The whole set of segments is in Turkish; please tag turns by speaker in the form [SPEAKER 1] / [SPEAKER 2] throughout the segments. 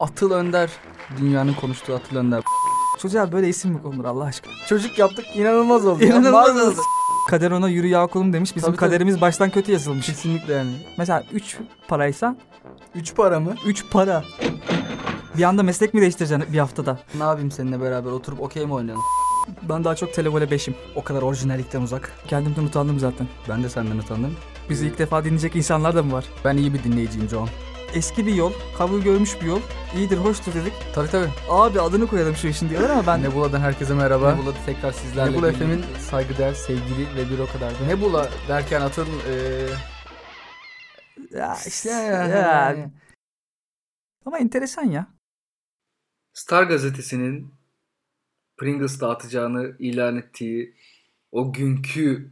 [SPEAKER 1] Atıl Önder. Dünyanın konuştuğu Atıl Önder.
[SPEAKER 2] Çocuğa böyle isim mi konulur Allah aşkına?
[SPEAKER 1] Çocuk yaptık inanılmaz oldu.
[SPEAKER 2] İnanılmaz
[SPEAKER 1] Mağazası-
[SPEAKER 2] oldu. Kader ona yürü ya kulum demiş. Bizim
[SPEAKER 1] Tabii, tabii.
[SPEAKER 2] kaderimiz baştan kötü yazılmış.
[SPEAKER 1] Kesinlikle yani.
[SPEAKER 2] Mesela 3 paraysa
[SPEAKER 1] Üç para mı?
[SPEAKER 2] 3 para. Bir anda meslek mi değiştireceksin bir haftada?
[SPEAKER 1] Ne yapayım seninle beraber oturup okey mi oynayalım?
[SPEAKER 2] Ben daha çok televole 5'im.
[SPEAKER 1] O kadar orijinallikten uzak.
[SPEAKER 2] Kendimden utandım zaten.
[SPEAKER 1] Ben de senden utandım.
[SPEAKER 2] Bizi ilk defa dinleyecek insanlar da mı var?
[SPEAKER 1] Ben iyi bir dinleyiciyim John.
[SPEAKER 2] Eski bir yol, kabul görmüş bir yol. İyidir, hoştur dedik.
[SPEAKER 1] Tabii tabii.
[SPEAKER 2] Abi adını koyalım şu işin diyorlar ama ben
[SPEAKER 1] Nebula'dan herkese merhaba.
[SPEAKER 2] Nebula'da tekrar sizlerle
[SPEAKER 1] Nebula,
[SPEAKER 2] birlikte-
[SPEAKER 1] FM'in saygıdeğer sevgili ve bir o kadar da. Nebula derken Atıl... eee
[SPEAKER 2] Ya işte
[SPEAKER 1] işte
[SPEAKER 2] ya. Ama enteresan ya.
[SPEAKER 1] Star gazetesinin Pringles dağıtacağını ilan ettiği o günkü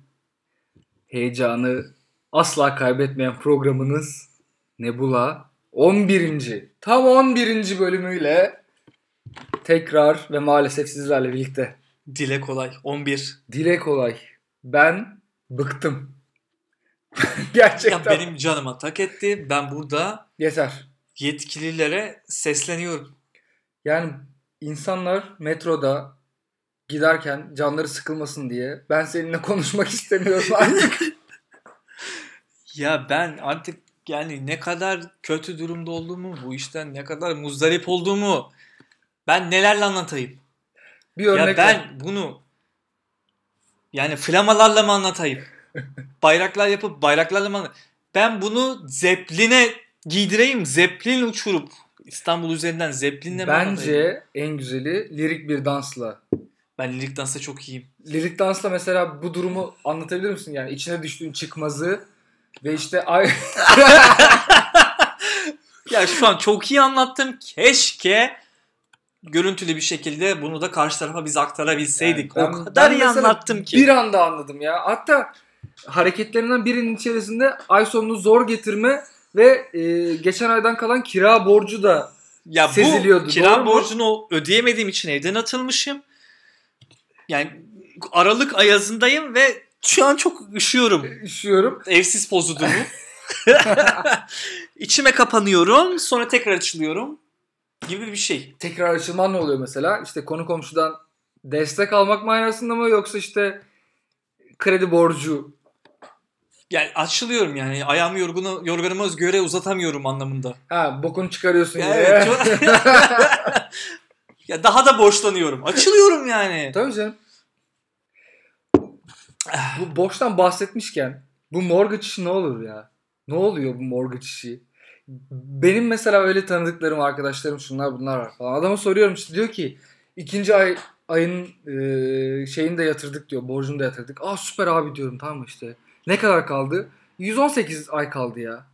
[SPEAKER 1] heyecanı asla kaybetmeyen programınız Nebula 11. Tam 11. bölümüyle tekrar ve maalesef sizlerle birlikte.
[SPEAKER 3] Dile kolay. 11.
[SPEAKER 1] Dile kolay. Ben bıktım. Gerçekten.
[SPEAKER 3] Ya benim canıma tak etti. Ben burada
[SPEAKER 1] Yeter.
[SPEAKER 3] yetkililere sesleniyorum.
[SPEAKER 1] Yani insanlar metroda giderken canları sıkılmasın diye ben seninle konuşmak istemiyorum artık.
[SPEAKER 3] Ya ben artık yani ne kadar kötü durumda olduğumu, bu işten ne kadar muzdarip olduğumu ben nelerle anlatayım?
[SPEAKER 1] Bir örnek
[SPEAKER 3] ya ben bunu yani flamalarla mı anlatayım? Bayraklar yapıp bayraklarla mı anlatayım? Ben bunu zepline giydireyim. Zeplin uçurup İstanbul üzerinden zeplinle mi anlatayım?
[SPEAKER 1] Bence en güzeli lirik bir dansla.
[SPEAKER 3] Ben lirik dansa çok iyiyim.
[SPEAKER 1] Lirik dansla mesela bu durumu anlatabilir misin? Yani içine düştüğün çıkmazı ve işte ay
[SPEAKER 3] Ya şu an çok iyi anlattım. Keşke görüntülü bir şekilde bunu da karşı tarafa biz aktarabilseydik.
[SPEAKER 1] Yani ben-
[SPEAKER 3] o kadar
[SPEAKER 1] ben
[SPEAKER 3] iyi
[SPEAKER 1] mesela
[SPEAKER 3] anlattım ki.
[SPEAKER 1] bir anda anladım ya. Hatta hareketlerinden birinin içerisinde ay sonunu zor getirme ve e, geçen aydan kalan kira borcu da
[SPEAKER 3] ya
[SPEAKER 1] seziliyordu,
[SPEAKER 3] bu kira
[SPEAKER 1] doğru mu?
[SPEAKER 3] borcunu o- ödeyemediğim için evden atılmışım. Yani Aralık ayazındayım ve şu an çok üşüyorum.
[SPEAKER 1] üşüyorum.
[SPEAKER 3] Evsiz pozudumu. İçime kapanıyorum. Sonra tekrar açılıyorum. Gibi bir şey.
[SPEAKER 1] Tekrar açılman ne oluyor mesela? İşte konu komşudan destek almak manasında mı yoksa işte kredi borcu
[SPEAKER 3] Yani açılıyorum yani. Ayağımı yorgunu, yorganıma göre uzatamıyorum anlamında.
[SPEAKER 1] Ha bokunu çıkarıyorsun
[SPEAKER 3] Ya
[SPEAKER 1] yine.
[SPEAKER 3] evet, çok- ya daha da borçlanıyorum. Açılıyorum yani.
[SPEAKER 1] Tabii canım. Bu borçtan bahsetmişken bu mortgage işi ne olur ya? Ne oluyor bu mortgage işi? Benim mesela öyle tanıdıklarım, arkadaşlarım şunlar bunlar var falan. Adama soruyorum işte diyor ki ikinci ay ayın e, şeyini de yatırdık diyor. Borcunu da yatırdık. Aa süper abi diyorum tamam mı işte. Ne kadar kaldı? 118 ay kaldı ya.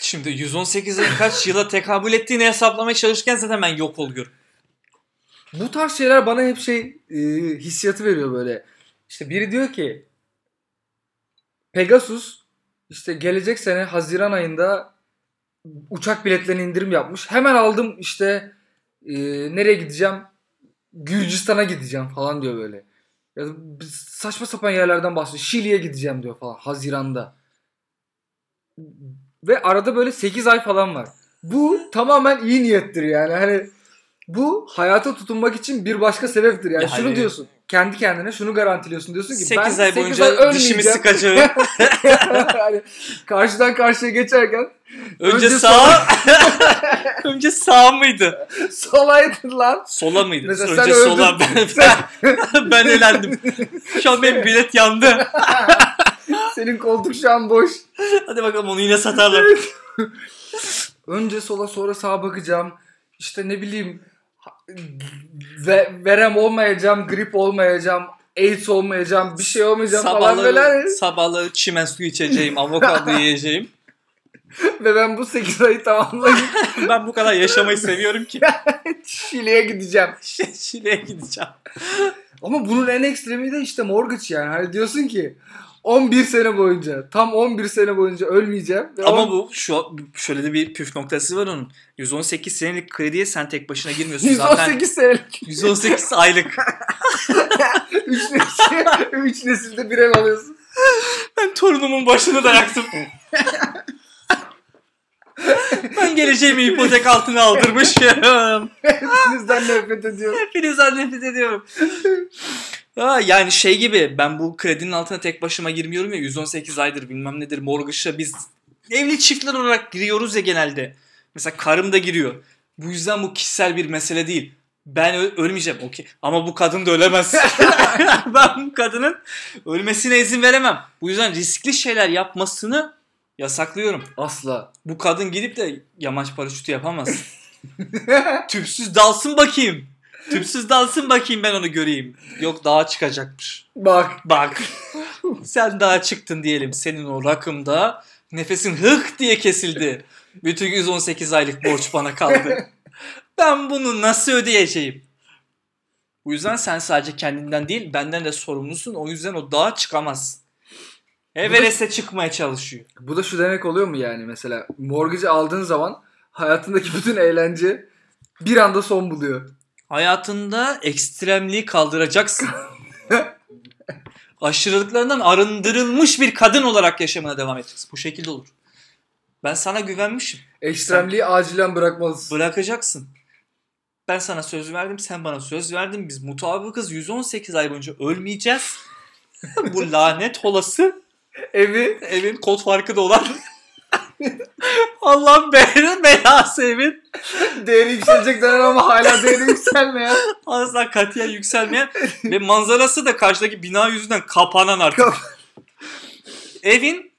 [SPEAKER 3] Şimdi 118 ayın kaç yıla tekabül ettiğini hesaplamaya çalışırken zaten ben yok oluyorum.
[SPEAKER 1] bu tarz şeyler bana hep şey e, hissiyatı veriyor böyle. İşte biri diyor ki Pegasus işte gelecek sene Haziran ayında uçak biletlerine indirim yapmış. Hemen aldım işte e, nereye gideceğim? Gürcistan'a gideceğim falan diyor böyle. Ya da saçma sapan yerlerden bahsediyor. Şili'ye gideceğim diyor falan Haziran'da. Ve arada böyle 8 ay falan var. Bu tamamen iyi niyettir yani. Hani bu hayata tutunmak için bir başka sebeptir. Yani
[SPEAKER 3] Ya
[SPEAKER 1] şunu
[SPEAKER 3] hayır.
[SPEAKER 1] diyorsun. Kendi kendine şunu garantiliyorsun. Diyorsun ki
[SPEAKER 3] 8
[SPEAKER 1] ben
[SPEAKER 3] ay
[SPEAKER 1] 8
[SPEAKER 3] boyunca
[SPEAKER 1] ay
[SPEAKER 3] dişimi
[SPEAKER 1] ölmeyeceğim.
[SPEAKER 3] sıkacağım.
[SPEAKER 1] yani Hani karşıdan karşıya geçerken
[SPEAKER 3] Önce
[SPEAKER 1] Önce
[SPEAKER 3] sağ Önce sağ mıydı?
[SPEAKER 1] salaydın lan.
[SPEAKER 3] Sola mıydı?
[SPEAKER 1] Mesela sen
[SPEAKER 3] Önce
[SPEAKER 1] öldün.
[SPEAKER 3] sola ben, ben, ben elendim. Şu an benim bilet yandı.
[SPEAKER 1] Senin koltuk şu an boş.
[SPEAKER 3] Hadi bakalım onu yine satarlar.
[SPEAKER 1] Önce sola sonra sağa bakacağım. İşte ne bileyim ha- ve, verem olmayacağım, grip olmayacağım, AIDS olmayacağım, bir şey olmayacağım falan böyle.
[SPEAKER 3] Sabahları, sabahları çimen suyu içeceğim, avokado yiyeceğim.
[SPEAKER 1] Ve ben bu 8 ayı tamamlayıp
[SPEAKER 3] Ben bu kadar yaşamayı seviyorum ki.
[SPEAKER 1] Şili'ye gideceğim.
[SPEAKER 3] Şile'ye gideceğim.
[SPEAKER 1] Ama bunun en ekstremi de işte mortgage yani. Hani diyorsun ki 11 sene boyunca, tam 11 sene boyunca ölmeyeceğim. Ve
[SPEAKER 3] Ama
[SPEAKER 1] on-
[SPEAKER 3] bu şu şöyle de bir püf noktası var onun. 118 senelik krediye sen tek başına girmiyorsun zaten.
[SPEAKER 1] 118 senelik
[SPEAKER 3] 118 aylık.
[SPEAKER 1] 3 nesil, üç nesilde bir ev alıyorsun.
[SPEAKER 3] Ben torunumun başını da yaktım. bütün geleceğimi ipotek altına aldırmışım.
[SPEAKER 1] Hepinizden nefret ediyorum.
[SPEAKER 3] Hepinizden nefret ediyorum. Ha, yani şey gibi ben bu kredinin altına tek başıma girmiyorum ya 118 aydır bilmem nedir mortgage'a biz evli çiftler olarak giriyoruz ya genelde. Mesela karım da giriyor. Bu yüzden bu kişisel bir mesele değil. Ben ö- ölmeyeceğim okey. Ama bu kadın da ölemez. ben bu kadının ölmesine izin veremem. Bu yüzden riskli şeyler yapmasını yasaklıyorum.
[SPEAKER 1] Asla.
[SPEAKER 3] Bu kadın gidip de yamaç paraşütü yapamaz. Tüpsüz dalsın bakayım. Tüpsüz dalsın bakayım ben onu göreyim. Yok dağa çıkacakmış.
[SPEAKER 1] Bak.
[SPEAKER 3] Bak. Sen dağa çıktın diyelim. Senin o rakımda nefesin hık diye kesildi. Bütün 118 aylık borç bana kaldı. Ben bunu nasıl ödeyeceğim? Bu yüzden sen sadece kendinden değil benden de sorumlusun. O yüzden o dağa çıkamaz. Everest'e çıkmaya çalışıyor.
[SPEAKER 1] Bu da şu demek oluyor mu yani mesela mortgage'ı aldığın zaman hayatındaki bütün eğlence bir anda son buluyor.
[SPEAKER 3] Hayatında ekstremliği kaldıracaksın. Aşırılıklarından arındırılmış bir kadın olarak yaşamına devam edeceksin. Bu şekilde olur. Ben sana güvenmişim.
[SPEAKER 1] Ekstremliği acilen bırakmalısın.
[SPEAKER 3] Bırakacaksın. Ben sana söz verdim, sen bana söz verdin. Biz mutabıkız 118 ay boyunca ölmeyeceğiz. Bu lanet olası
[SPEAKER 1] Evi
[SPEAKER 3] evin kod farkı da olan Allah'ın belanı belası evin
[SPEAKER 1] değeri yükselecek denen ama hala değeri yükselmeyen.
[SPEAKER 3] Asla katiyen yükselmeyen ve manzarası da karşıdaki bina yüzünden kapanan artık. Evin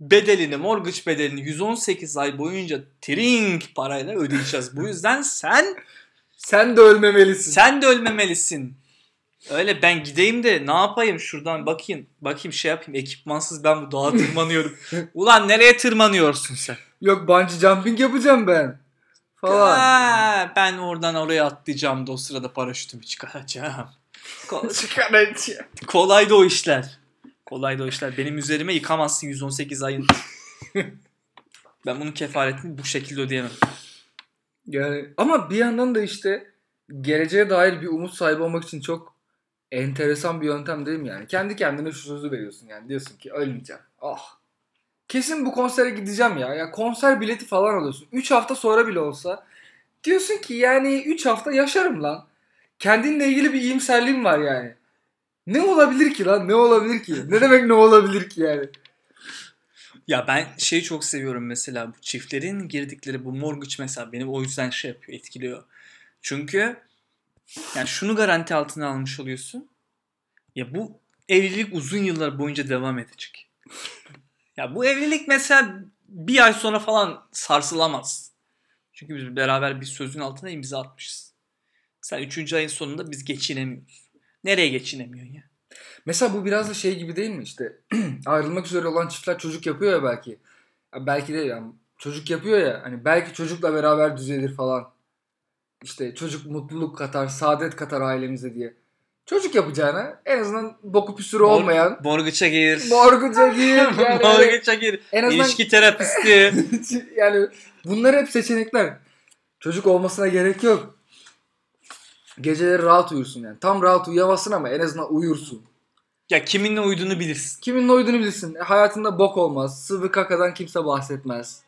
[SPEAKER 3] bedelini, mortgage bedelini 118 ay boyunca tring parayla ödeyeceğiz. Bu yüzden sen
[SPEAKER 1] Sen de ölmemelisin.
[SPEAKER 3] sen de ölmemelisin. Öyle ben gideyim de ne yapayım şuradan bakayım. Bakayım şey yapayım ekipmansız ben bu dağa tırmanıyorum. Ulan nereye tırmanıyorsun sen?
[SPEAKER 1] Yok bungee jumping yapacağım ben. Falan.
[SPEAKER 3] Ha, ben oradan oraya atlayacağım da o sırada paraşütümü çıkaracağım. Ko- Kolay da o işler. Kolay da o işler. Benim üzerime yıkamazsın 118 ayın. ben bunun kefaretini bu şekilde ödeyemem.
[SPEAKER 1] Yani ama bir yandan da işte geleceğe dair bir umut sahibi olmak için çok enteresan bir yöntem değil mi yani? Kendi kendine şu sözü veriyorsun yani. Diyorsun ki ölmeyeceğim. Ah. Kesin bu konsere gideceğim ya. Ya konser bileti falan alıyorsun. 3 hafta sonra bile olsa diyorsun ki yani 3 hafta yaşarım lan. Kendinle ilgili bir iyimserliğin var yani. Ne olabilir ki lan? Ne olabilir ki? Ne demek ne olabilir ki yani?
[SPEAKER 3] Ya ben şeyi çok seviyorum mesela bu çiftlerin girdikleri bu mortgage mesela beni o yüzden şey yapıyor, etkiliyor. Çünkü yani şunu garanti altına almış oluyorsun. Ya bu evlilik uzun yıllar boyunca devam edecek. ya bu evlilik mesela bir ay sonra falan sarsılamaz. Çünkü biz beraber bir sözün altına imza atmışız. Sen üçüncü ayın sonunda biz geçinemiyoruz. Nereye geçinemiyorsun ya?
[SPEAKER 1] Mesela bu biraz da şey gibi değil mi işte ayrılmak üzere olan çiftler çocuk yapıyor ya belki. Ya belki de yani çocuk yapıyor ya hani belki çocukla beraber düzelir falan. İşte çocuk mutluluk katar, saadet katar ailemize diye. Çocuk yapacağına en azından boku püsürü
[SPEAKER 3] Mor-
[SPEAKER 1] olmayan
[SPEAKER 3] Mortgage'a gir.
[SPEAKER 1] morguca gir. Yani hani
[SPEAKER 3] Mortgage'a gir.
[SPEAKER 1] en azından
[SPEAKER 3] İlişki terapisti.
[SPEAKER 1] yani bunlar hep seçenekler. Çocuk olmasına gerek yok. Geceleri rahat uyursun yani. Tam rahat uyuyamazsın ama en azından uyursun.
[SPEAKER 3] Ya kiminle uyuduğunu bilirsin.
[SPEAKER 1] Kiminle uyduğunu bilirsin. E, Hayatında bok olmaz. Sıvı kakadan kimse bahsetmez.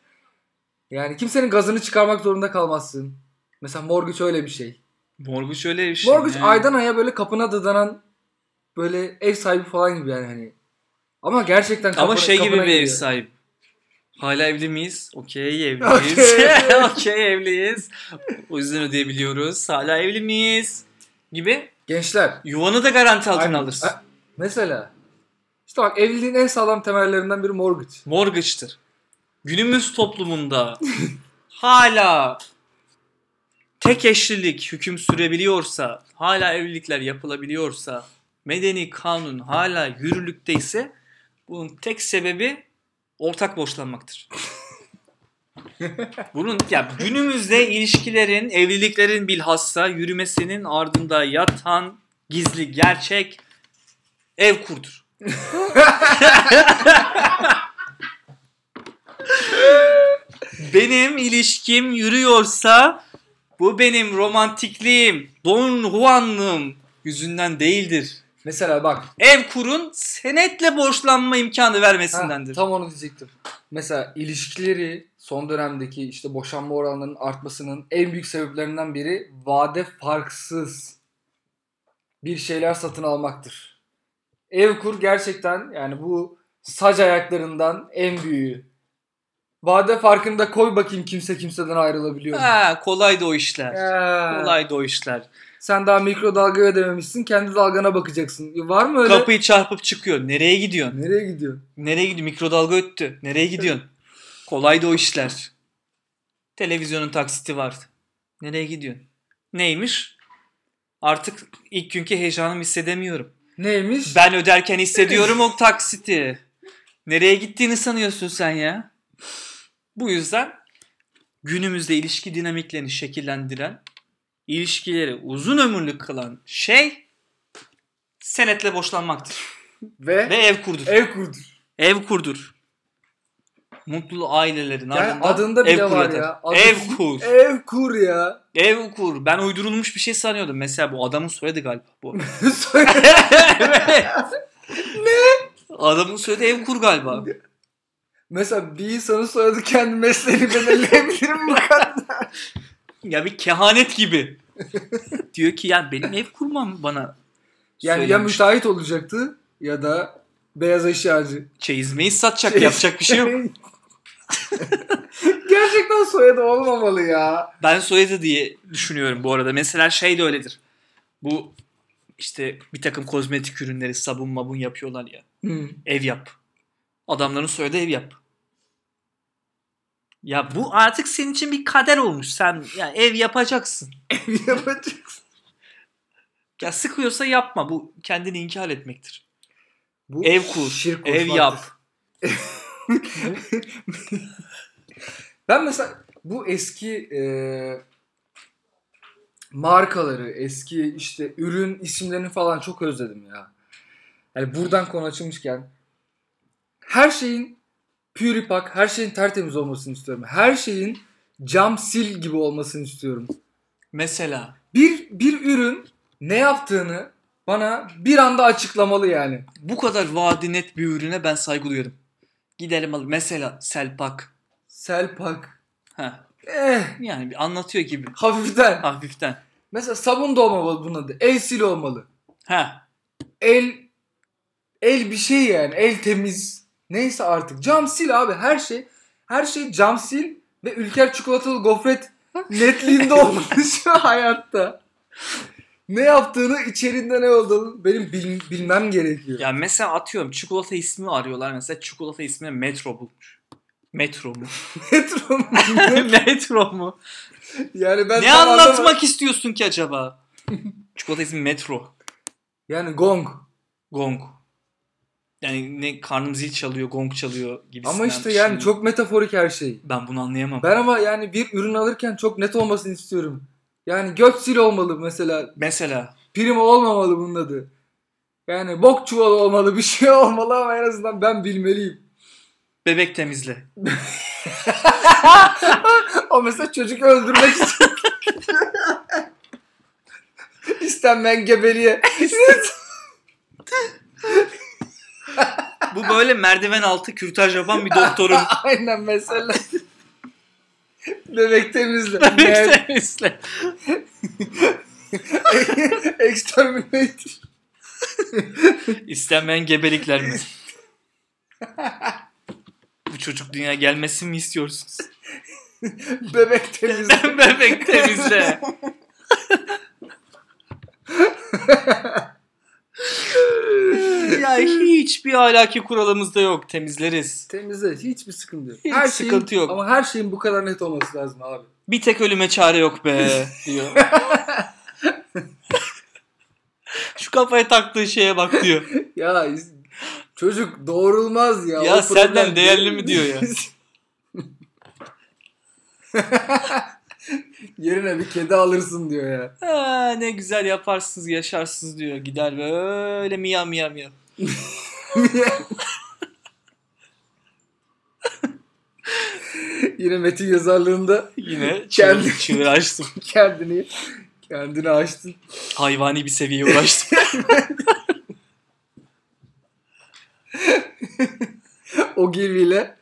[SPEAKER 1] Yani kimsenin gazını çıkarmak zorunda kalmazsın. Mesela mortgage öyle bir şey.
[SPEAKER 3] Morguç öyle bir şey.
[SPEAKER 1] Mortgage
[SPEAKER 3] ya.
[SPEAKER 1] aydan aya böyle kapına dadanan böyle ev sahibi falan gibi yani hani. Ama gerçekten kapına,
[SPEAKER 3] Ama şey gibi
[SPEAKER 1] kapına
[SPEAKER 3] bir ev
[SPEAKER 1] giriyor.
[SPEAKER 3] sahibi. Hala evli miyiz? Okey evliyiz.
[SPEAKER 1] Okey.
[SPEAKER 3] Okey evliyiz. O yüzden ödeyebiliyoruz. Hala evli miyiz? Gibi.
[SPEAKER 1] Gençler.
[SPEAKER 3] Yuvanı da garanti altına
[SPEAKER 1] aynen.
[SPEAKER 3] alırsın.
[SPEAKER 1] A- Mesela. İşte bak evliliğin en sağlam temellerinden biri mortgage.
[SPEAKER 3] Mortgage'tır. Günümüz toplumunda hala tek eşlilik hüküm sürebiliyorsa, hala evlilikler yapılabiliyorsa, medeni kanun hala yürürlükteyse bunun tek sebebi ortak borçlanmaktır. Bunun ya günümüzde ilişkilerin, evliliklerin bilhassa yürümesinin ardında yatan gizli gerçek ev kurdur. benim ilişkim yürüyorsa bu benim romantikliğim, Don Juan'lığım yüzünden değildir.
[SPEAKER 1] Mesela bak
[SPEAKER 3] Ev kurun senetle borçlanma imkanı
[SPEAKER 1] Ha,
[SPEAKER 3] vermesindendir.
[SPEAKER 1] tam onu diyecektim. Mesela ilişkileri son dönemdeki işte boşanma oranlarının artmasının en büyük sebeplerinden biri vade farksız bir şeyler satın almaktır. Evkur gerçekten yani bu sac ayaklarından en büyüğü. Vade farkını da koy bakayım kimse kimseden ayrılabiliyor mu?
[SPEAKER 3] Ha, kolaydı o işler.
[SPEAKER 1] Ee,
[SPEAKER 3] Kolaydı o işler.
[SPEAKER 1] Sen daha mikrodalga ödememişsin. Kendi dalgana bakacaksın. Ya Var mı öyle?
[SPEAKER 3] Kapıyı çarpıp çıkıyor. Nereye gidiyorsun?
[SPEAKER 1] Nereye gidiyorsun?
[SPEAKER 3] Nereye gidiyorsun? Mikrodalga öttü. Nereye gidiyorsun? Kolaydı o işler. Televizyonun taksiti vardı. Nereye gidiyorsun? Neymiş? Artık ilk günkü heyecanımı hissedemiyorum.
[SPEAKER 1] Neymiş?
[SPEAKER 3] Ben öderken hissediyorum o taksiti. Nereye gittiğini sanıyorsun sen ya? Bu yüzden günümüzde ilişki dinamiklerini şekillendiren, ilişkileri uzun ömürlü kılan şey senetle boşlanmaktır.
[SPEAKER 1] Ve,
[SPEAKER 3] Ve ev kurdur. Ev,
[SPEAKER 1] ev kurdu.
[SPEAKER 3] kurdur. Mutlu ailelerin
[SPEAKER 1] Yani
[SPEAKER 3] ardından
[SPEAKER 1] adında bile
[SPEAKER 3] ev kur
[SPEAKER 1] var
[SPEAKER 3] yatar.
[SPEAKER 1] ya. Adı-
[SPEAKER 3] Ev kur.
[SPEAKER 1] Ev kur ya.
[SPEAKER 3] Ev kur. Ben uydurulmuş bir şey sanıyordum. Mesela bu adamın soyadı galiba bu.
[SPEAKER 1] Söyle.
[SPEAKER 3] ne? Adamın soyadı ev kur galiba.
[SPEAKER 1] Mesela bir insanın soyadı kendi mesleğini belirleyebilirim bu kadar.
[SPEAKER 3] Ya bir kehanet gibi. Diyor ki ya benim ev kurmam bana
[SPEAKER 1] Yani ya
[SPEAKER 3] söylenmiş.
[SPEAKER 1] müteahhit olacaktı ya da beyaz eşyacı.
[SPEAKER 3] Çeyizmeyi satacak
[SPEAKER 1] Çeyiz-
[SPEAKER 3] yapacak bir şey yok.
[SPEAKER 1] Gerçekten soyadı olmamalı ya.
[SPEAKER 3] Ben soyadı diye düşünüyorum bu arada. Mesela şey de öyledir. Bu işte bir takım kozmetik ürünleri sabun mabun yapıyorlar ya.
[SPEAKER 1] Hı.
[SPEAKER 3] Ev yap. Adamların soyadı ev yap. Ya bu artık senin için bir kader olmuş. Sen ya ev yapacaksın.
[SPEAKER 1] Yapacaksın.
[SPEAKER 3] Ya sıkıyorsa yapma. Bu kendini inkar etmektir.
[SPEAKER 1] Bu
[SPEAKER 3] Ev kur,
[SPEAKER 1] şirk
[SPEAKER 3] ev
[SPEAKER 1] koşmaktır.
[SPEAKER 3] yap.
[SPEAKER 1] Ben mesela bu eski e, markaları, eski işte ürün isimlerini falan çok özledim ya. Yani buradan konu açılmışken her şeyin püripak, her şeyin tertemiz olmasını istiyorum. Her şeyin cam sil gibi olmasını istiyorum.
[SPEAKER 3] Mesela
[SPEAKER 1] Bir bir ürün ne yaptığını bana bir anda açıklamalı yani.
[SPEAKER 3] bu kadar vaadi net bir ürüne ben saygı duyuyorum. Gidelim alalım. Mesela Selpak.
[SPEAKER 1] Selpak.
[SPEAKER 3] Ha,
[SPEAKER 1] Eh,
[SPEAKER 3] yani bir anlatıyor gibi.
[SPEAKER 1] hafiften.
[SPEAKER 3] Hafiften.
[SPEAKER 1] Mesela sabun da olmamalı bunun adı. El sil olmalı.
[SPEAKER 3] Ha.
[SPEAKER 1] el el bir şey yani el temiz neyse artık cam sil abi her şey her şey cam sil ve ülker çikolatalı gofret netliğinde olmalı şu hayatta. Ne yaptığını içeriğinde ne olduğunu benim bil- bilmem gerekiyor.
[SPEAKER 3] Ya mesela atıyorum çikolata ismi arıyorlar. Mesela çikolata ismini Metro bulmuş. Metro mu?
[SPEAKER 1] Metro mu?
[SPEAKER 3] metro mu?
[SPEAKER 1] yani ben
[SPEAKER 3] ne
[SPEAKER 1] tam
[SPEAKER 3] anlatmak
[SPEAKER 1] anlamadım.
[SPEAKER 3] istiyorsun ki acaba? çikolata ismi Metro.
[SPEAKER 1] Yani gong.
[SPEAKER 3] Gong. Yani ne karnım zil çalıyor, gong çalıyor gibi.
[SPEAKER 1] Ama işte yani çok metaforik her şey.
[SPEAKER 3] Ben bunu anlayamam.
[SPEAKER 1] Ben ama yani bir ürün alırken çok net olmasını istiyorum. Yani göç sil olmalı mesela
[SPEAKER 3] Mesela
[SPEAKER 1] Prim olmamalı bunun adı. Yani bok çuvalı olmalı bir şey olmalı ama en azından ben bilmeliyim.
[SPEAKER 3] bebek temizle.
[SPEAKER 1] o mesela çocuk öldürmek için. İstenmeyen gebeliğe.
[SPEAKER 3] Bu böyle merdiven altı kürtaj yapan bir doktorun
[SPEAKER 1] Aynen mesela. Bebek temizle. Yani
[SPEAKER 3] bebek temizle.
[SPEAKER 1] Exterminate.
[SPEAKER 3] İstenmeyen gebelikler mi? Bu çocuk dünya gelmesin mi istiyorsunuz?
[SPEAKER 1] Bebek temizle.
[SPEAKER 3] bebek temizle. ya hiçbir ahlaki kuralımızda yok. Temizleriz.
[SPEAKER 1] temizle. Hiçbir sıkıntı yok.
[SPEAKER 3] Hiç
[SPEAKER 1] şeyin-
[SPEAKER 3] sıkıntı yok.
[SPEAKER 1] Ama her şeyin bu kadar net olması lazım abi.
[SPEAKER 3] Bir tek ölüme çare yok be diyor. Şu kafaya taktığı şeye bak diyor.
[SPEAKER 1] Ya iz- çocuk doğrulmaz ya. O
[SPEAKER 3] Ya
[SPEAKER 1] problem
[SPEAKER 3] senden değerli
[SPEAKER 1] değil.
[SPEAKER 3] mi diyor ya?
[SPEAKER 1] Yerine bir kedi alırsın diyor ya.
[SPEAKER 3] "Ha, ne güzel yaparsınız yaşarsınız diyor. Gider böyle miyav miyav miyav.
[SPEAKER 1] Yine Metin yazarlığında
[SPEAKER 3] Yine
[SPEAKER 1] Kendi-
[SPEAKER 3] çığır, çığır açtım.
[SPEAKER 1] kendini kendini açtın.
[SPEAKER 3] Hayvani bir seviyeye ulaştım.
[SPEAKER 1] o girviyle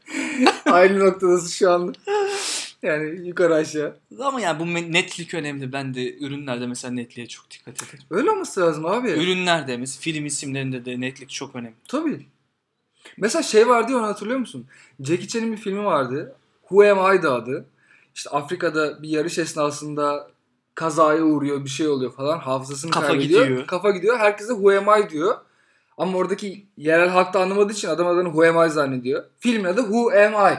[SPEAKER 1] aynı noktadasın şu an. Yani yukarı aşağı.
[SPEAKER 3] Ama yani bu me- netlik önemli. Ben de ürünlerde mesela netliğe çok dikkat ederim.
[SPEAKER 1] Öyle olması lazım abi.
[SPEAKER 3] Ürünlerde mesela film isimlerinde de netlik çok önemli.
[SPEAKER 1] Tabii. Mesela şey vardı ya onu hatırlıyor musun? Jackie Chan'in bir filmi vardı. Who Am I'dı adı. İşte Afrika'da bir yarış esnasında kazaya uğruyor, bir şey oluyor falan. Hafızasını
[SPEAKER 3] Kafa
[SPEAKER 1] kaybediyor.
[SPEAKER 3] gidiyor.
[SPEAKER 1] Kafa gidiyor. Herkese Who Am I diyor. Ama oradaki yerel halk da anlamadığı için adam adını Who Am I zannediyor. Filmin adı Who Am I.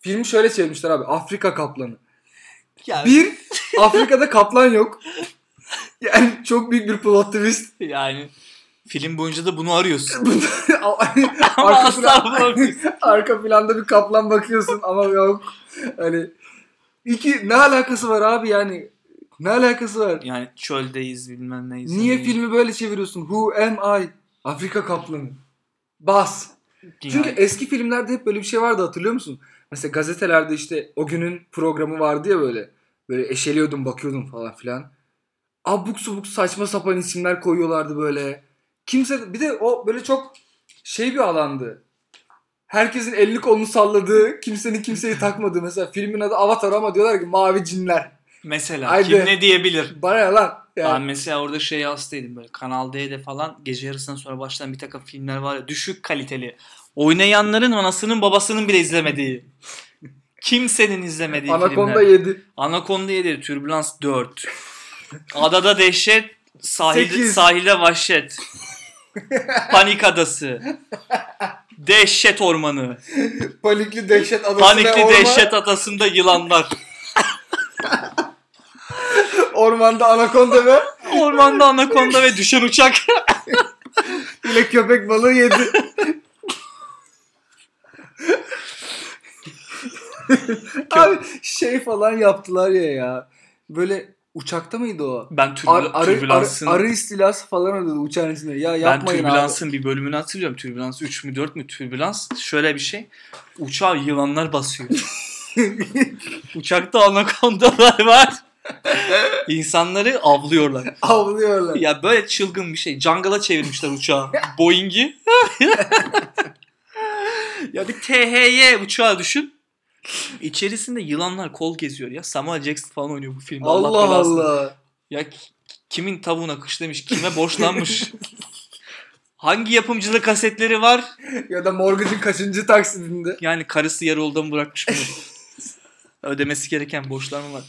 [SPEAKER 1] Filmi şöyle çevirmişler abi. Afrika kaplanı.
[SPEAKER 3] Yani,
[SPEAKER 1] Bir, Afrika'da kaplan yok. Yani çok büyük bir plot twist.
[SPEAKER 3] yani film boyunca da bunu arıyorsun. Ama
[SPEAKER 1] Arka
[SPEAKER 3] asla
[SPEAKER 1] plan-
[SPEAKER 3] bulamıyorsun.
[SPEAKER 1] Arka planda bir kaplan bakıyorsun ama yok. Hani iki ne alakası var abi yani? Ne alakası var?
[SPEAKER 3] Yani çöldeyiz bilmem neyiz. hani
[SPEAKER 1] Niye
[SPEAKER 3] Yani-
[SPEAKER 1] filmi böyle çeviriyorsun? Who am I? Afrika kaplanı. Bas. Çünkü
[SPEAKER 3] Yani-
[SPEAKER 1] eski filmlerde hep böyle bir şey vardı hatırlıyor musun? Mesela gazetelerde işte o günün programı vardı ya böyle. Böyle eşeliyordum bakıyordum falan filan. Abuk subuk saçma sapan isimler koyuyorlardı böyle. Kimse bir de o böyle çok şey bir alandı. Herkesin elini kolunu salladığı, kimsenin kimseyi takmadığı. Mesela filmin adı Avatar ama diyorlar ki Mavi Cinler.
[SPEAKER 3] mesela
[SPEAKER 1] Haydi.
[SPEAKER 3] kim ne diyebilir?
[SPEAKER 1] Bana ne lan?
[SPEAKER 3] Ben
[SPEAKER 1] Yani,
[SPEAKER 3] mesela orada şeye hastaydım böyle Kanal D'de falan gece yarısından sonra başlayan bir takım filmler var ya düşük kaliteli. Oynayanların anasının babasının bile izlemediği. Kimsenin izlemediği
[SPEAKER 1] Anakonda
[SPEAKER 3] filmler.
[SPEAKER 1] 7.
[SPEAKER 3] Anakonda 7, Türbülans 4. Adada Dehşet, sahilde,
[SPEAKER 1] Sekiz.
[SPEAKER 3] sahilde Vahşet. Panik Adası. Dehşet Ormanı.
[SPEAKER 1] Panikli Dehşet Adası'nda
[SPEAKER 3] Panikli
[SPEAKER 1] orman,
[SPEAKER 3] Dehşet Adası'nda yılanlar.
[SPEAKER 1] ormanda Anakonda ve
[SPEAKER 3] Ormanda Anakonda ve düşen uçak.
[SPEAKER 1] Bile köpek balığı yedi. Abi şey falan yaptılar ya ya. Böyle uçakta mıydı o?
[SPEAKER 3] Ben türbül-
[SPEAKER 1] Ar- arı, arı,
[SPEAKER 3] Türbülans'ın...
[SPEAKER 1] arı istilası falan ödedi uçağın içinde. Ya
[SPEAKER 3] Ben
[SPEAKER 1] Şey yapmayın abi.
[SPEAKER 3] türbülansın bir bölümünü hatırlıyorum. Türbülans 3 mü 4 mü türbülans şöyle bir şey. Uçağa yılanlar basıyor. Uçakta anakondalar var. İnsanları avlıyorlar.
[SPEAKER 1] Avlıyorlar.
[SPEAKER 3] Ya böyle çılgın bir şey. Jungle'a çevirmişler uçağı. Boeing'i. ya bir THY uçağı düşün. İçerisinde yılanlar kol geziyor ya. Samuel Jackson falan oynuyor bu filmde.
[SPEAKER 1] Allah Allah.
[SPEAKER 3] belasını- ya ki- kimin tavuğuna kış demiş, kime borçlanmış? Hangi yapımcılık kasetleri var?
[SPEAKER 1] Ya da mortgage'ın kaçıncı taksidinde?
[SPEAKER 3] Yani karısı yarı yolda mı bırakmış bunu? Ödemesi gereken borçlar mı var?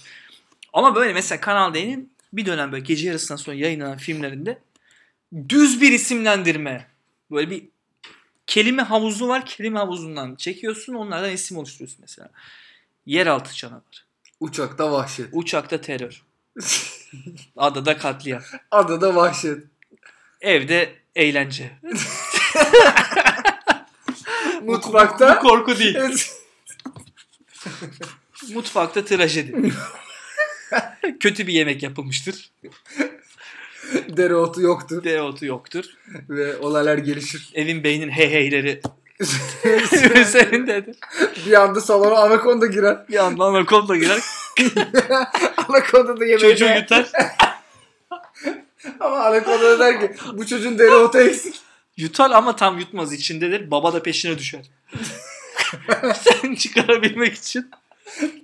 [SPEAKER 3] Ama böyle mesela Kanal D'nin bir dönem böyle gece yarısından sonra yayınlanan filmlerinde düz bir isimlendirme. Böyle bir kelime havuzu var. Kelime havuzundan çekiyorsun. Onlardan isim oluşturuyorsun mesela. Yeraltı canavarı.
[SPEAKER 1] Uçakta vahşet.
[SPEAKER 3] Uçakta terör. Adada katliam.
[SPEAKER 1] Adada vahşet.
[SPEAKER 3] Evde eğlence.
[SPEAKER 1] Mutfakta
[SPEAKER 3] Bu korku değil. Mutfakta trajedi. Kötü bir yemek yapılmıştır.
[SPEAKER 1] dereotu yoktu
[SPEAKER 3] Dereotu yoktur.
[SPEAKER 1] ve olaylar gelişir.
[SPEAKER 3] Evin beynin heyheyleri üzerindedir.
[SPEAKER 1] bir anda salona anakonda girer.
[SPEAKER 3] Bir anda anakonda girer.
[SPEAKER 1] Anakonda da yemeğe
[SPEAKER 3] Çocuğu
[SPEAKER 1] değer.
[SPEAKER 3] yutar.
[SPEAKER 1] Ama anakonda da der ki bu çocuğun dereotu eksik.
[SPEAKER 3] Yutar ama tam yutmaz içindedir. Baba da peşine düşer. Sen çıkarabilmek için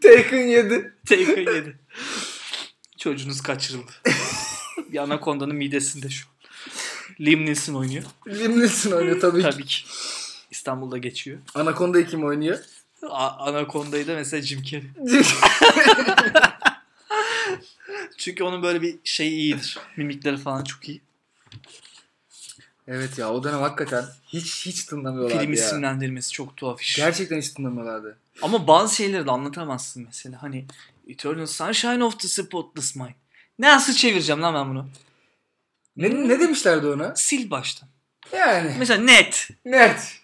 [SPEAKER 1] Taken yedi.
[SPEAKER 3] TK yedi. Çocuğunuz kaçırıldı. bir anakondanın midesinde şu. an. Liam Neeson oynuyor.
[SPEAKER 1] Limlisin oynuyor tabii, ki.
[SPEAKER 3] Tabii ki. İstanbul'da geçiyor.
[SPEAKER 1] Anakonda'yı kim oynuyor?
[SPEAKER 3] A- Anaconda'yı da mesela Jim Carrey. Çünkü onun böyle bir şeyi iyidir. Mimikleri falan çok iyi.
[SPEAKER 1] evet ya o dönem hakikaten hiç hiç tınlamıyorlardı
[SPEAKER 3] Film
[SPEAKER 1] ya.
[SPEAKER 3] isimlendirmesi çok tuhaf iş.
[SPEAKER 1] Gerçekten hiç tınlamıyorlardı.
[SPEAKER 3] Ama bazı şeyleri de anlatamazsın mesela. Hani Eternal Sunshine of the Spotless Mind. Nasıl çevireceğim lan ben bunu?
[SPEAKER 1] Ne, ne demişlerdi ona?
[SPEAKER 3] Sil baştan.
[SPEAKER 1] Yani
[SPEAKER 3] Mesela net.
[SPEAKER 1] net.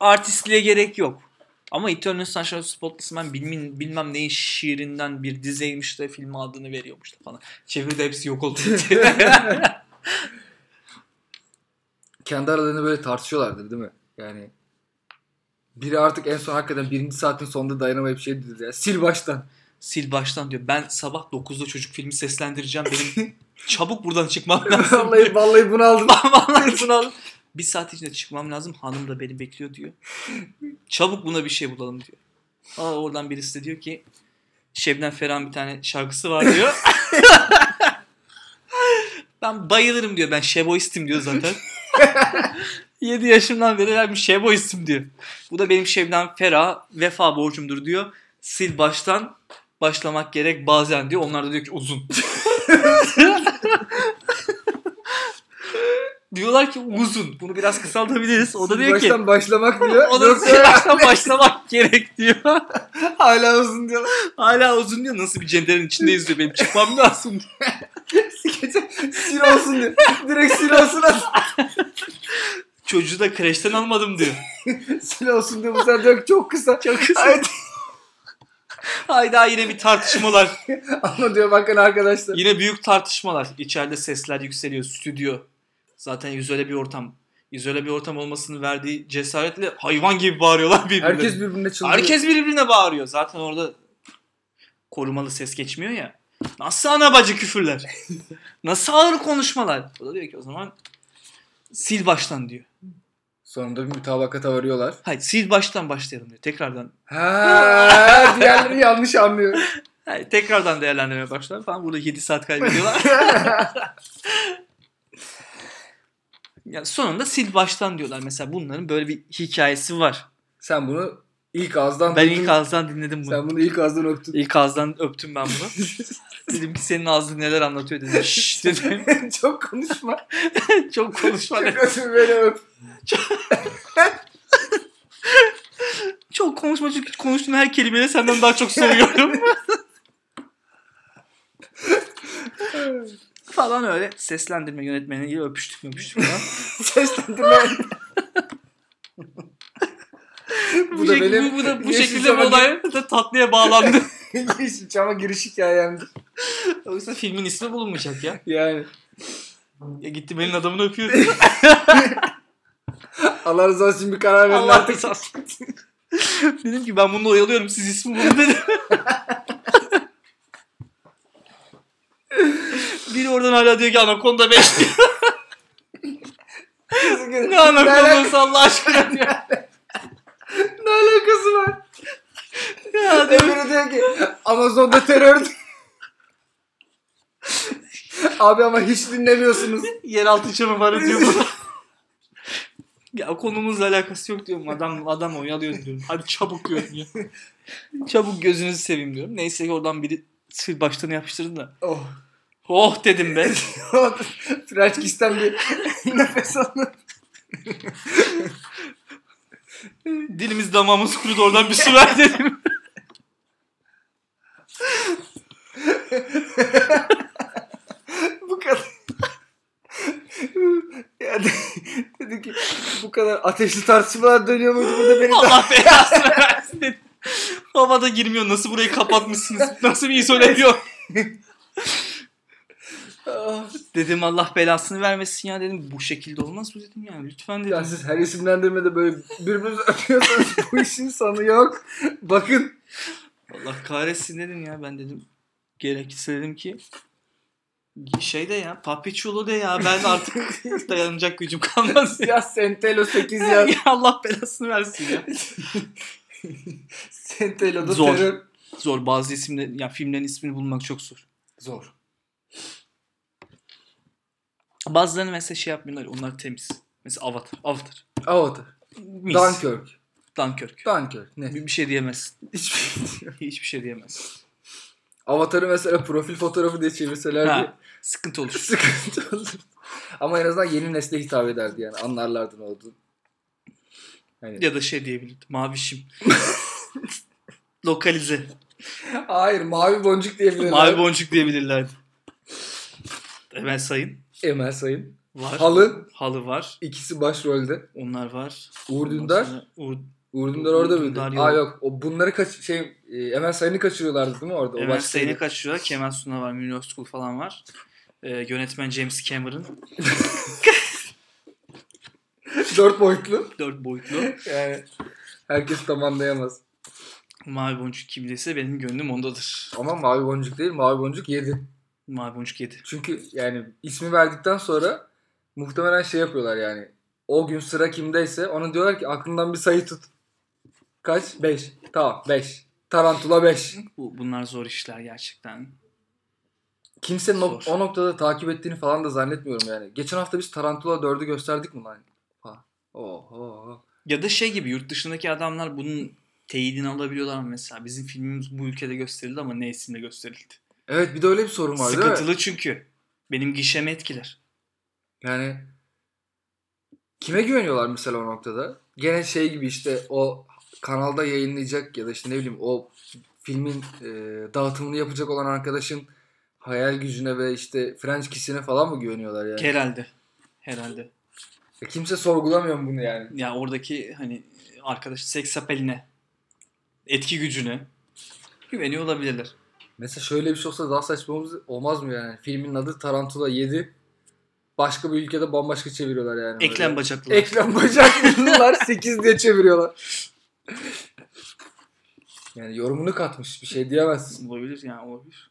[SPEAKER 3] Artistliğe gerek yok. Ama Eternal Sunshine of the Spotless Mind bilmem, bilmem neyin şiirinden bir dizeymiş de filme adını veriyormuş da falan. Çeviride hepsi yok oldu.
[SPEAKER 1] Kendi aralarında böyle tartışıyorlardı değil mi? Yani biri artık en son hakikaten birinci saatin sonunda dayanamayıp şey dedi ya sil baştan.
[SPEAKER 3] Sil baştan diyor. Ben sabah 9'da çocuk filmi seslendireceğim. Benim çabuk buradan çıkmam lazım.
[SPEAKER 1] vallahi vallahi bunu aldım.
[SPEAKER 3] Vallahi bunu al. Bir saat içinde çıkmam lazım. Hanım da beni bekliyor diyor. Çabuk buna bir şey bulalım diyor. Aa, oradan birisi de diyor ki Şebnem Ferah'ın bir tane şarkısı var diyor. ben bayılırım diyor. Ben şeboistim diyor zaten. 7 yaşımdan beri ben bir şeboistim diyor. Bu da benim Şebnem Ferah vefa borcumdur diyor. Sil baştan başlamak gerek bazen diyor. Onlar da diyor ki uzun. Diyorlar ki uzun. Bunu biraz kısaltabiliriz. O da diyor ki
[SPEAKER 1] Baştan başlamak diyor.
[SPEAKER 3] o da
[SPEAKER 1] Yoksa
[SPEAKER 3] diyor, baştan başlamak gerek diyor.
[SPEAKER 1] hala uzun diyorlar.
[SPEAKER 3] Hala uzun diyor. Nasıl bir cenderin içindeyiz diyor. Benim çıkmam lazım diyor.
[SPEAKER 1] Sikece sil olsun diyor. Direkt sil olsun at.
[SPEAKER 3] Çocuğu da kreşten almadım diyor.
[SPEAKER 1] Sil olsun diyor. Bu sefer diyor ki çok kısa.
[SPEAKER 3] Çok kısa.
[SPEAKER 1] Ay,
[SPEAKER 3] Hayda yine bir tartışmalar.
[SPEAKER 1] Ama diyor bakın arkadaşlar.
[SPEAKER 3] Yine büyük tartışmalar. İçeride sesler yükseliyor. Stüdyo. Zaten izole bir ortam. İzole bir ortam olmasının verdiği cesaretle hayvan gibi bağırıyorlar birbirine.
[SPEAKER 1] Herkes birbirine çıldırıyor.
[SPEAKER 3] Herkes birbirine bağırıyor. Zaten orada korumalı ses geçmiyor ya. Nasıl ana bacı küfürler? Nasıl ağır konuşmalar? O da diyor ki o zaman sil baştan diyor.
[SPEAKER 1] Sonunda bir mütabakata varıyorlar.
[SPEAKER 3] Hayır sil baştan başlayalım diyor. Tekrardan.
[SPEAKER 1] Ha, diğerleri yanlış anlıyor.
[SPEAKER 3] Hayır, tekrardan değerlendirmeye başlar falan. Burada 7 saat kaybediyorlar. ya sonunda sil baştan diyorlar. Mesela bunların böyle bir hikayesi var.
[SPEAKER 1] Sen bunu ilk ağızdan
[SPEAKER 3] Ben
[SPEAKER 1] duydun.
[SPEAKER 3] ilk ağızdan dinledim bunu.
[SPEAKER 1] Sen bunu ilk ağızdan öptün.
[SPEAKER 3] İlk ağızdan öptüm ben bunu. dedim ki senin ağzın neler anlatıyor dedim. Şşş dedim.
[SPEAKER 1] çok konuşma.
[SPEAKER 3] Çok konuşma.
[SPEAKER 1] çok
[SPEAKER 3] dedim.
[SPEAKER 1] öpün beni öp.
[SPEAKER 3] Çok konuşma çünkü konuştuğun her kelimeyle senden daha çok soruyorum. falan öyle seslendirme yönetmeniyle öpüştük mü öpüştük falan.
[SPEAKER 1] Seslendirme.
[SPEAKER 3] bu, şekilde, bu, bu da, bu şekilde bu olay da tatlıya bağlandı.
[SPEAKER 1] Yeşilçam'a giriş hikayemdi.
[SPEAKER 3] Oysa filmin ismi bulunmayacak ya.
[SPEAKER 1] Yani
[SPEAKER 3] Ya E, gitti benim adamını öpüyordu.
[SPEAKER 1] Allah razı olsun bir karar verin
[SPEAKER 3] Allah
[SPEAKER 1] artık.
[SPEAKER 3] razı olsun. Dedim ki ben bunu oyalıyorum siz ismi bulun dedim. Biri oradan hala diyor ki Anaconda 5 diyor. Ne
[SPEAKER 1] alakası,
[SPEAKER 3] Anaconda'sı Allah aşkına diyor.
[SPEAKER 1] ne alakası var?
[SPEAKER 3] Ya diyor.
[SPEAKER 1] Öbürü diyor ki Amazon'da terör. Abi ama hiç dinlemiyorsunuz.
[SPEAKER 3] Yeraltı canavarı diyor buna. ya konumuzla alakası yok diyorum. Adam adam oyalıyor diyorum. Hadi çabuk diyorum ya. çabuk gözünüzü seveyim diyorum. Neyse ki oradan biri sil baştan yapıştırdı da.
[SPEAKER 1] Oh.
[SPEAKER 3] Oh dedim ben.
[SPEAKER 1] French kiss'ten bir nefes alın.
[SPEAKER 3] Dilimiz damağımız kurudu oradan bir su ver dedim.
[SPEAKER 1] Bu kadar. ya de- dedi ki bu kadar ateşli tartışmalar dönüyor muydu burada beni de
[SPEAKER 3] Allah belasını versin dedim. Havada girmiyor. Nasıl burayı kapatmışsınız? Nasıl bir izole ediyor?
[SPEAKER 1] Ah.
[SPEAKER 3] Dedim Allah belasını vermesin ya dedim. Bu şekilde olmaz bu dedim yani. Lütfen dedim.
[SPEAKER 1] ya siz her isimlendirmede böyle birbirinizi öpüyorsanız bu işin sonu yok. Bakın
[SPEAKER 3] Allah kahretsin dedim ya ben dedim. Gerekirse dedim ki şey de ya papiçulu de ya ben artık dayanacak gücüm kalmaz ya.
[SPEAKER 1] ya Sentelo 8 ya
[SPEAKER 3] Ya Allah belasını versin ya.
[SPEAKER 1] Sentelo'da
[SPEAKER 3] Zor.
[SPEAKER 1] terör.
[SPEAKER 3] Zor bazı isimler ya filmlerin ismini bulmak çok zor.
[SPEAKER 1] Zor.
[SPEAKER 3] Bazılarını mesela şey yapmıyorlar onlar temiz. Mesela Avatar. Avatar.
[SPEAKER 1] Avatar.
[SPEAKER 3] Mis.
[SPEAKER 1] Dunkirk.
[SPEAKER 3] Dunkirk.
[SPEAKER 1] Dunkirk. Ne?
[SPEAKER 3] Bir, bir şey diyemezsin.
[SPEAKER 1] Hiçbir
[SPEAKER 3] Hiçbir şey diyemezsin.
[SPEAKER 1] Avatar'ı mesela profil fotoğrafı diye çevirselerdi
[SPEAKER 3] Ha, sıkıntı olur.
[SPEAKER 1] sıkıntı olurdu. Ama en azından yeni nesle hitap ederdi yani. Anlarlardı ne olduğunu. Hani-
[SPEAKER 3] ya da şey diyebilirdim. Mavişim. Lokalize.
[SPEAKER 1] Hayır mavi boncuk diyebilirler.
[SPEAKER 3] Mavi boncuk diyebilirlerdi. Hemen sayın.
[SPEAKER 1] Emel Sayın.
[SPEAKER 3] Var.
[SPEAKER 1] Halı.
[SPEAKER 3] Halı var.
[SPEAKER 1] ikisi başrolde.
[SPEAKER 3] Onlar var.
[SPEAKER 1] Uğur
[SPEAKER 3] Ondan
[SPEAKER 1] Dündar.
[SPEAKER 3] sonra Uğur...
[SPEAKER 1] Uğur Dündar orada
[SPEAKER 3] Uğur
[SPEAKER 1] mıydı?
[SPEAKER 3] Dündar
[SPEAKER 1] Aa
[SPEAKER 3] yok.
[SPEAKER 1] yok. O bunları kaç şey e, Emel Sayın'ı kaçırıyorlardı değil mi orada?
[SPEAKER 3] Emel
[SPEAKER 1] başrolde.
[SPEAKER 3] Sayın'ı kaçırıyor. Kemal Sunal var. Münir Özkul falan var. Ee, yönetmen James Cameron.
[SPEAKER 1] Dört boyutlu.
[SPEAKER 3] Dört boyutlu.
[SPEAKER 1] Yani herkes tam anlayamaz.
[SPEAKER 3] Mavi boncuk kimdeyse benim gönlüm ondadır.
[SPEAKER 1] Ama mavi boncuk değil mavi boncuk yedi.
[SPEAKER 3] Mavi boncuk yedi.
[SPEAKER 1] Çünkü yani ismi verdikten sonra muhtemelen şey yapıyorlar yani. O gün sıra kimdeyse ona diyorlar ki aklından bir sayı tut. Kaç? 5. Tamam 5. Tarantula 5.
[SPEAKER 3] Bu, bunlar zor işler gerçekten.
[SPEAKER 1] Kimsenin o,
[SPEAKER 3] Zor.
[SPEAKER 1] o noktada takip ettiğini falan da zannetmiyorum yani. Geçen hafta biz Tarantula 4'ü gösterdik mi lan? Ha. Oho.
[SPEAKER 3] Ya da şey gibi yurt dışındaki adamlar bunun teyidini alabiliyorlar mı mesela? Bizim filmimiz bu ülkede gösterildi ama ne isimle gösterildi?
[SPEAKER 1] Evet bir de öyle bir sorun var değil mi?
[SPEAKER 3] Sıkıntılı çünkü. Benim gişemi etkiler.
[SPEAKER 1] Yani kime güveniyorlar mesela o noktada? Gene şey gibi işte o kanalda yayınlayacak ya da işte ne bileyim o filmin e, dağıtımını yapacak olan arkadaşın hayal gücüne ve işte French kiss'ine falan mı güveniyorlar yani?
[SPEAKER 3] Herhalde. Herhalde.
[SPEAKER 1] E, kimse sorgulamıyor mu bunu yani?
[SPEAKER 3] Ya oradaki hani arkadaş seks apeline etki gücüne güveniyor olabilirler.
[SPEAKER 1] Mesela şöyle bir şey olsa daha saçma olmaz- olmaz mı yani? Filmin adı Tarantula 7. Başka bir ülkede bambaşka çeviriyorlar yani.
[SPEAKER 3] Eklem
[SPEAKER 1] Böyle.
[SPEAKER 3] bacaklılar.
[SPEAKER 1] Eklem bacaklılar 8 diye çeviriyorlar. Yani yorumunu katmış bir şey diyemezsin.
[SPEAKER 3] olabilir yani olabilir.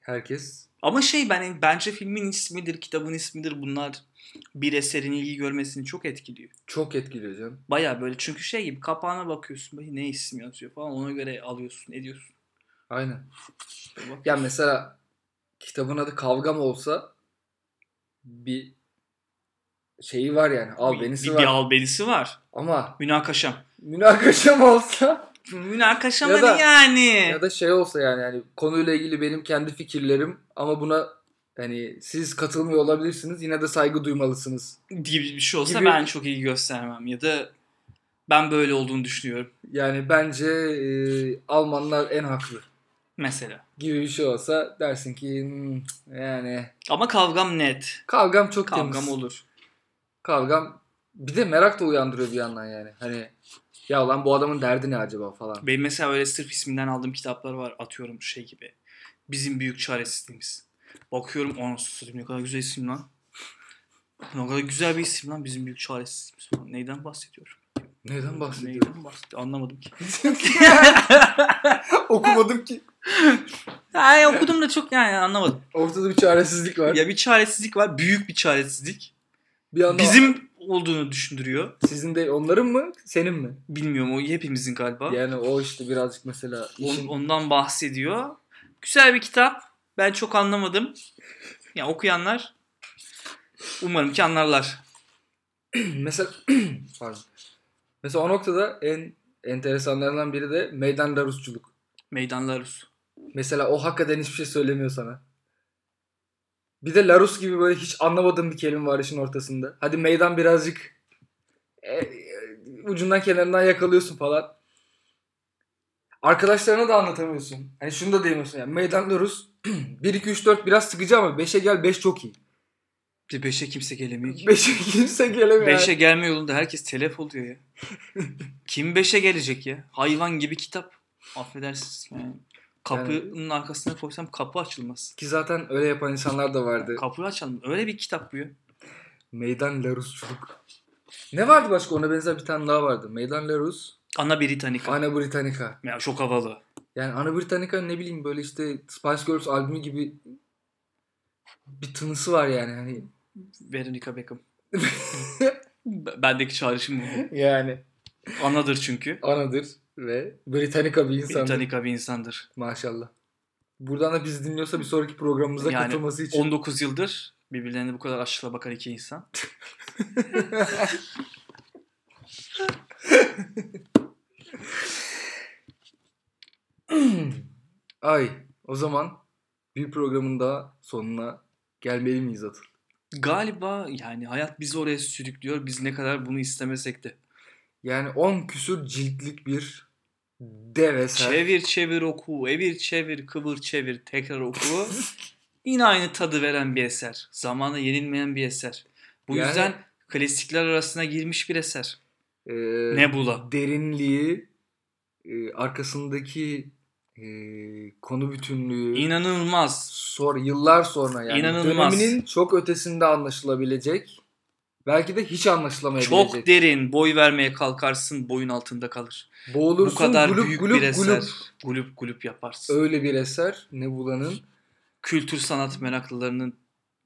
[SPEAKER 1] Herkes
[SPEAKER 3] Ama şey ben bence filmin ismidir, kitabın ismidir bunlar bir eserin ilgi görmesini çok etkiliyor.
[SPEAKER 1] çok etkiliyor canım.
[SPEAKER 3] Baya böyle çünkü şey gibi kapağına bakıyorsun "Bakayım ne isim yazıyor falan ona göre alıyorsun ediyorsun.
[SPEAKER 1] Aynen.
[SPEAKER 3] Şöyle bak.
[SPEAKER 1] Ya mesela kitabın adı Kavgam olsa bir şeyi var yani. Al benisi
[SPEAKER 3] bir,
[SPEAKER 1] var.
[SPEAKER 3] bir albenisi var.
[SPEAKER 1] Ama
[SPEAKER 3] Münakaşam.
[SPEAKER 1] münakaşam olsa
[SPEAKER 3] Münakaşam
[SPEAKER 1] Ya
[SPEAKER 3] hadi
[SPEAKER 1] da-
[SPEAKER 3] yani.
[SPEAKER 1] Ya da şey olsa yani yani konuyla ilgili benim kendi fikirlerim ama buna hani siz katılmıyor olabilirsiniz yine de saygı duymalısınız.
[SPEAKER 3] gibi bir şey olsa
[SPEAKER 1] gibi-
[SPEAKER 3] ben çok iyi göstermem ya da ben böyle olduğunu düşünüyorum
[SPEAKER 1] Yani bence e, Almanlar en haklı
[SPEAKER 3] mesela.
[SPEAKER 1] gibi bir şey olsa dersin ki "Hmm, cık, yani
[SPEAKER 3] Ama kavgam net.
[SPEAKER 1] kavgam çok
[SPEAKER 3] Kavgam
[SPEAKER 1] temiz.
[SPEAKER 3] olur.
[SPEAKER 1] Kavgam bir de merak da uyandırıyor bir yandan yani. Hani ya lan bu adamın derdi ne acaba falan.
[SPEAKER 3] Benim mesela öyle sırf isminden aldığım kitaplar var atıyorum şey gibi. Bizim büyük çaresizliğimiz. Bakıyorum onu satayım ne kadar güzel isim lan. Ne kadar güzel bir isim lan bizim büyük çaresizliğimiz falan. Neyden bahsediyorum?
[SPEAKER 1] Neyden bahsediyor?
[SPEAKER 3] Neyden bahsediyor? Anlamadım ki.
[SPEAKER 1] Okumadım ki.
[SPEAKER 3] Yani okudum da çok yani anlamadım.
[SPEAKER 1] Ortada bir çaresizlik var.
[SPEAKER 3] Ya bir çaresizlik var. Büyük bir çaresizlik.
[SPEAKER 1] Bir yandan
[SPEAKER 3] Bizim olduğunu düşündürüyor.
[SPEAKER 1] sizin de onların mı senin mi?
[SPEAKER 3] Bilmiyorum o hepimizin galiba.
[SPEAKER 1] Yani o işte birazcık mesela
[SPEAKER 3] On-
[SPEAKER 1] işin
[SPEAKER 3] ondan bahsediyor. Güzel bir kitap. Ben çok anlamadım. Ya okuyanlar umarım ki anlarlar.
[SPEAKER 1] mesela pardon. Mesela o noktada en enteresanlarından biri de meydanda Rusçuluk.
[SPEAKER 3] Meydan Larus.
[SPEAKER 1] Mesela o hakikaten hiçbir şey söylemiyor sana. Bir de Larus gibi böyle hiç anlamadığım bir kelime var işin ortasında. Hadi meydan birazcık e, e, ucundan kenarından yakalıyorsun falan. Arkadaşlarına da anlatamıyorsun. Hani şunu da diyemiyorsun yani. Meydan Larus 1 2 3 4 biraz sıkıcı ama 5'e gel 5 çok iyi.
[SPEAKER 3] Bir beşe kimse gelemiyor ki.
[SPEAKER 1] 5'e kimse gelemiyor.
[SPEAKER 3] Beşe gelme yolunda herkes telef oluyor ya. Kim beşe gelecek ya? Hayvan gibi kitap. Affedersiniz yani. Kapının arkasına koysam kapı açılmaz.
[SPEAKER 1] Ki zaten öyle yapan insanlar da vardı.
[SPEAKER 3] Kapıyı açalım. Öyle bir kitap bu ya.
[SPEAKER 1] Meydan Larusçuluk. Ne vardı başka? Ona benzer bir tane daha vardı. Meydan Larus,
[SPEAKER 3] Ana Britanika.
[SPEAKER 1] Ana Britannica.
[SPEAKER 3] Ya çok havalı.
[SPEAKER 1] Yani Ana Britannica ne bileyim böyle işte Spice Girls albümü gibi bir tınısı var yani. Hani
[SPEAKER 3] Veronica Beckham. B- Bendeki çağrışım bu.
[SPEAKER 1] yani
[SPEAKER 3] Anadır çünkü.
[SPEAKER 1] anadır ve Britannica bir insan
[SPEAKER 3] Britanika bir insandır.
[SPEAKER 1] maşallah. Buradan da bizi dinliyorsa bir sonraki programımıza
[SPEAKER 3] Yani
[SPEAKER 1] katılması için.
[SPEAKER 3] 19 yıldır birbirlerine bu kadar aşkla bakan iki insan.
[SPEAKER 1] Ay o zaman bir programın daha sonuna gelmeli miyiz Atıl?
[SPEAKER 3] Galiba yani hayat bizi oraya sürüklüyor. Biz ne kadar bunu istemesek de.
[SPEAKER 1] Yani 10 küsür ciltlik bir dev eser.
[SPEAKER 3] Çevir çevir oku, evir çevir, kıvır çevir, tekrar oku. Yine aynı tadı veren bir eser. Zamana yenilmeyen bir eser. Bu
[SPEAKER 1] Yani-
[SPEAKER 3] yüzden klasikler arasına girmiş bir eser.
[SPEAKER 1] Ee,
[SPEAKER 3] Nebula.
[SPEAKER 1] Derinliği, e, arkasındaki e, konu bütünlüğü.
[SPEAKER 3] İnanılmaz.
[SPEAKER 1] sor yıllar sonra yani
[SPEAKER 3] İnanılmaz.
[SPEAKER 1] döneminin çok ötesinde anlaşılabilecek. Belki de hiç anlaşılamayabilecek.
[SPEAKER 3] Çok derin. Boy vermeye kalkarsın, boyun altında kalır.
[SPEAKER 1] Boğulursun
[SPEAKER 3] Bu kadar
[SPEAKER 1] gulup
[SPEAKER 3] büyük
[SPEAKER 1] gulup
[SPEAKER 3] bir eser.
[SPEAKER 1] gulup.
[SPEAKER 3] Gulup gulup yaparsın.
[SPEAKER 1] Öyle bir eser Nebula'nın.
[SPEAKER 3] kültür sanat meraklılarının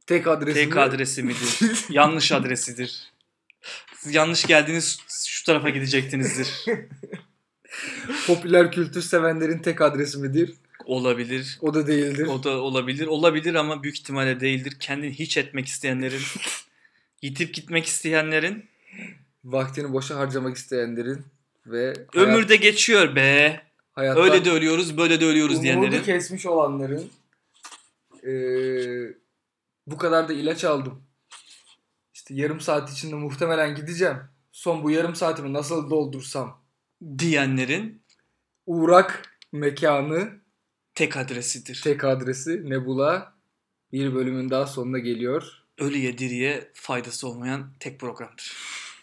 [SPEAKER 1] Tek adresi.
[SPEAKER 3] Tek
[SPEAKER 1] bu.
[SPEAKER 3] adresi midir? Yanlış adresidir. Siz yanlış geldiğiniz şu tarafa gidecektinizdir.
[SPEAKER 1] Popüler kültür sevenlerin tek adresi midir?
[SPEAKER 3] Olabilir.
[SPEAKER 1] O da değildir.
[SPEAKER 3] O da olabilir. Olabilir ama büyük ihtimalle değildir. Kendini hiç etmek isteyenlerin, yitip gitmek isteyenlerin
[SPEAKER 1] Vaktini boşa harcamak isteyenlerin ve hayat,
[SPEAKER 3] ömürde geçiyor be.
[SPEAKER 1] hayattan
[SPEAKER 3] Öyle de ölüyoruz, böyle de ölüyoruz diyenlerin.
[SPEAKER 1] umudu kesmiş olanların eee, bu kadar da ilaç aldım. İşte yarım saat içinde muhtemelen gideceğim. Son bu yarım saatimi nasıl doldursam?
[SPEAKER 3] Diyenlerin
[SPEAKER 1] Uğrak mekanı
[SPEAKER 3] tek adresidir.
[SPEAKER 1] tek adresi Nebula bir bölümün daha sonuna geliyor.
[SPEAKER 3] Ölüye diriye faydası olmayan tek programdır.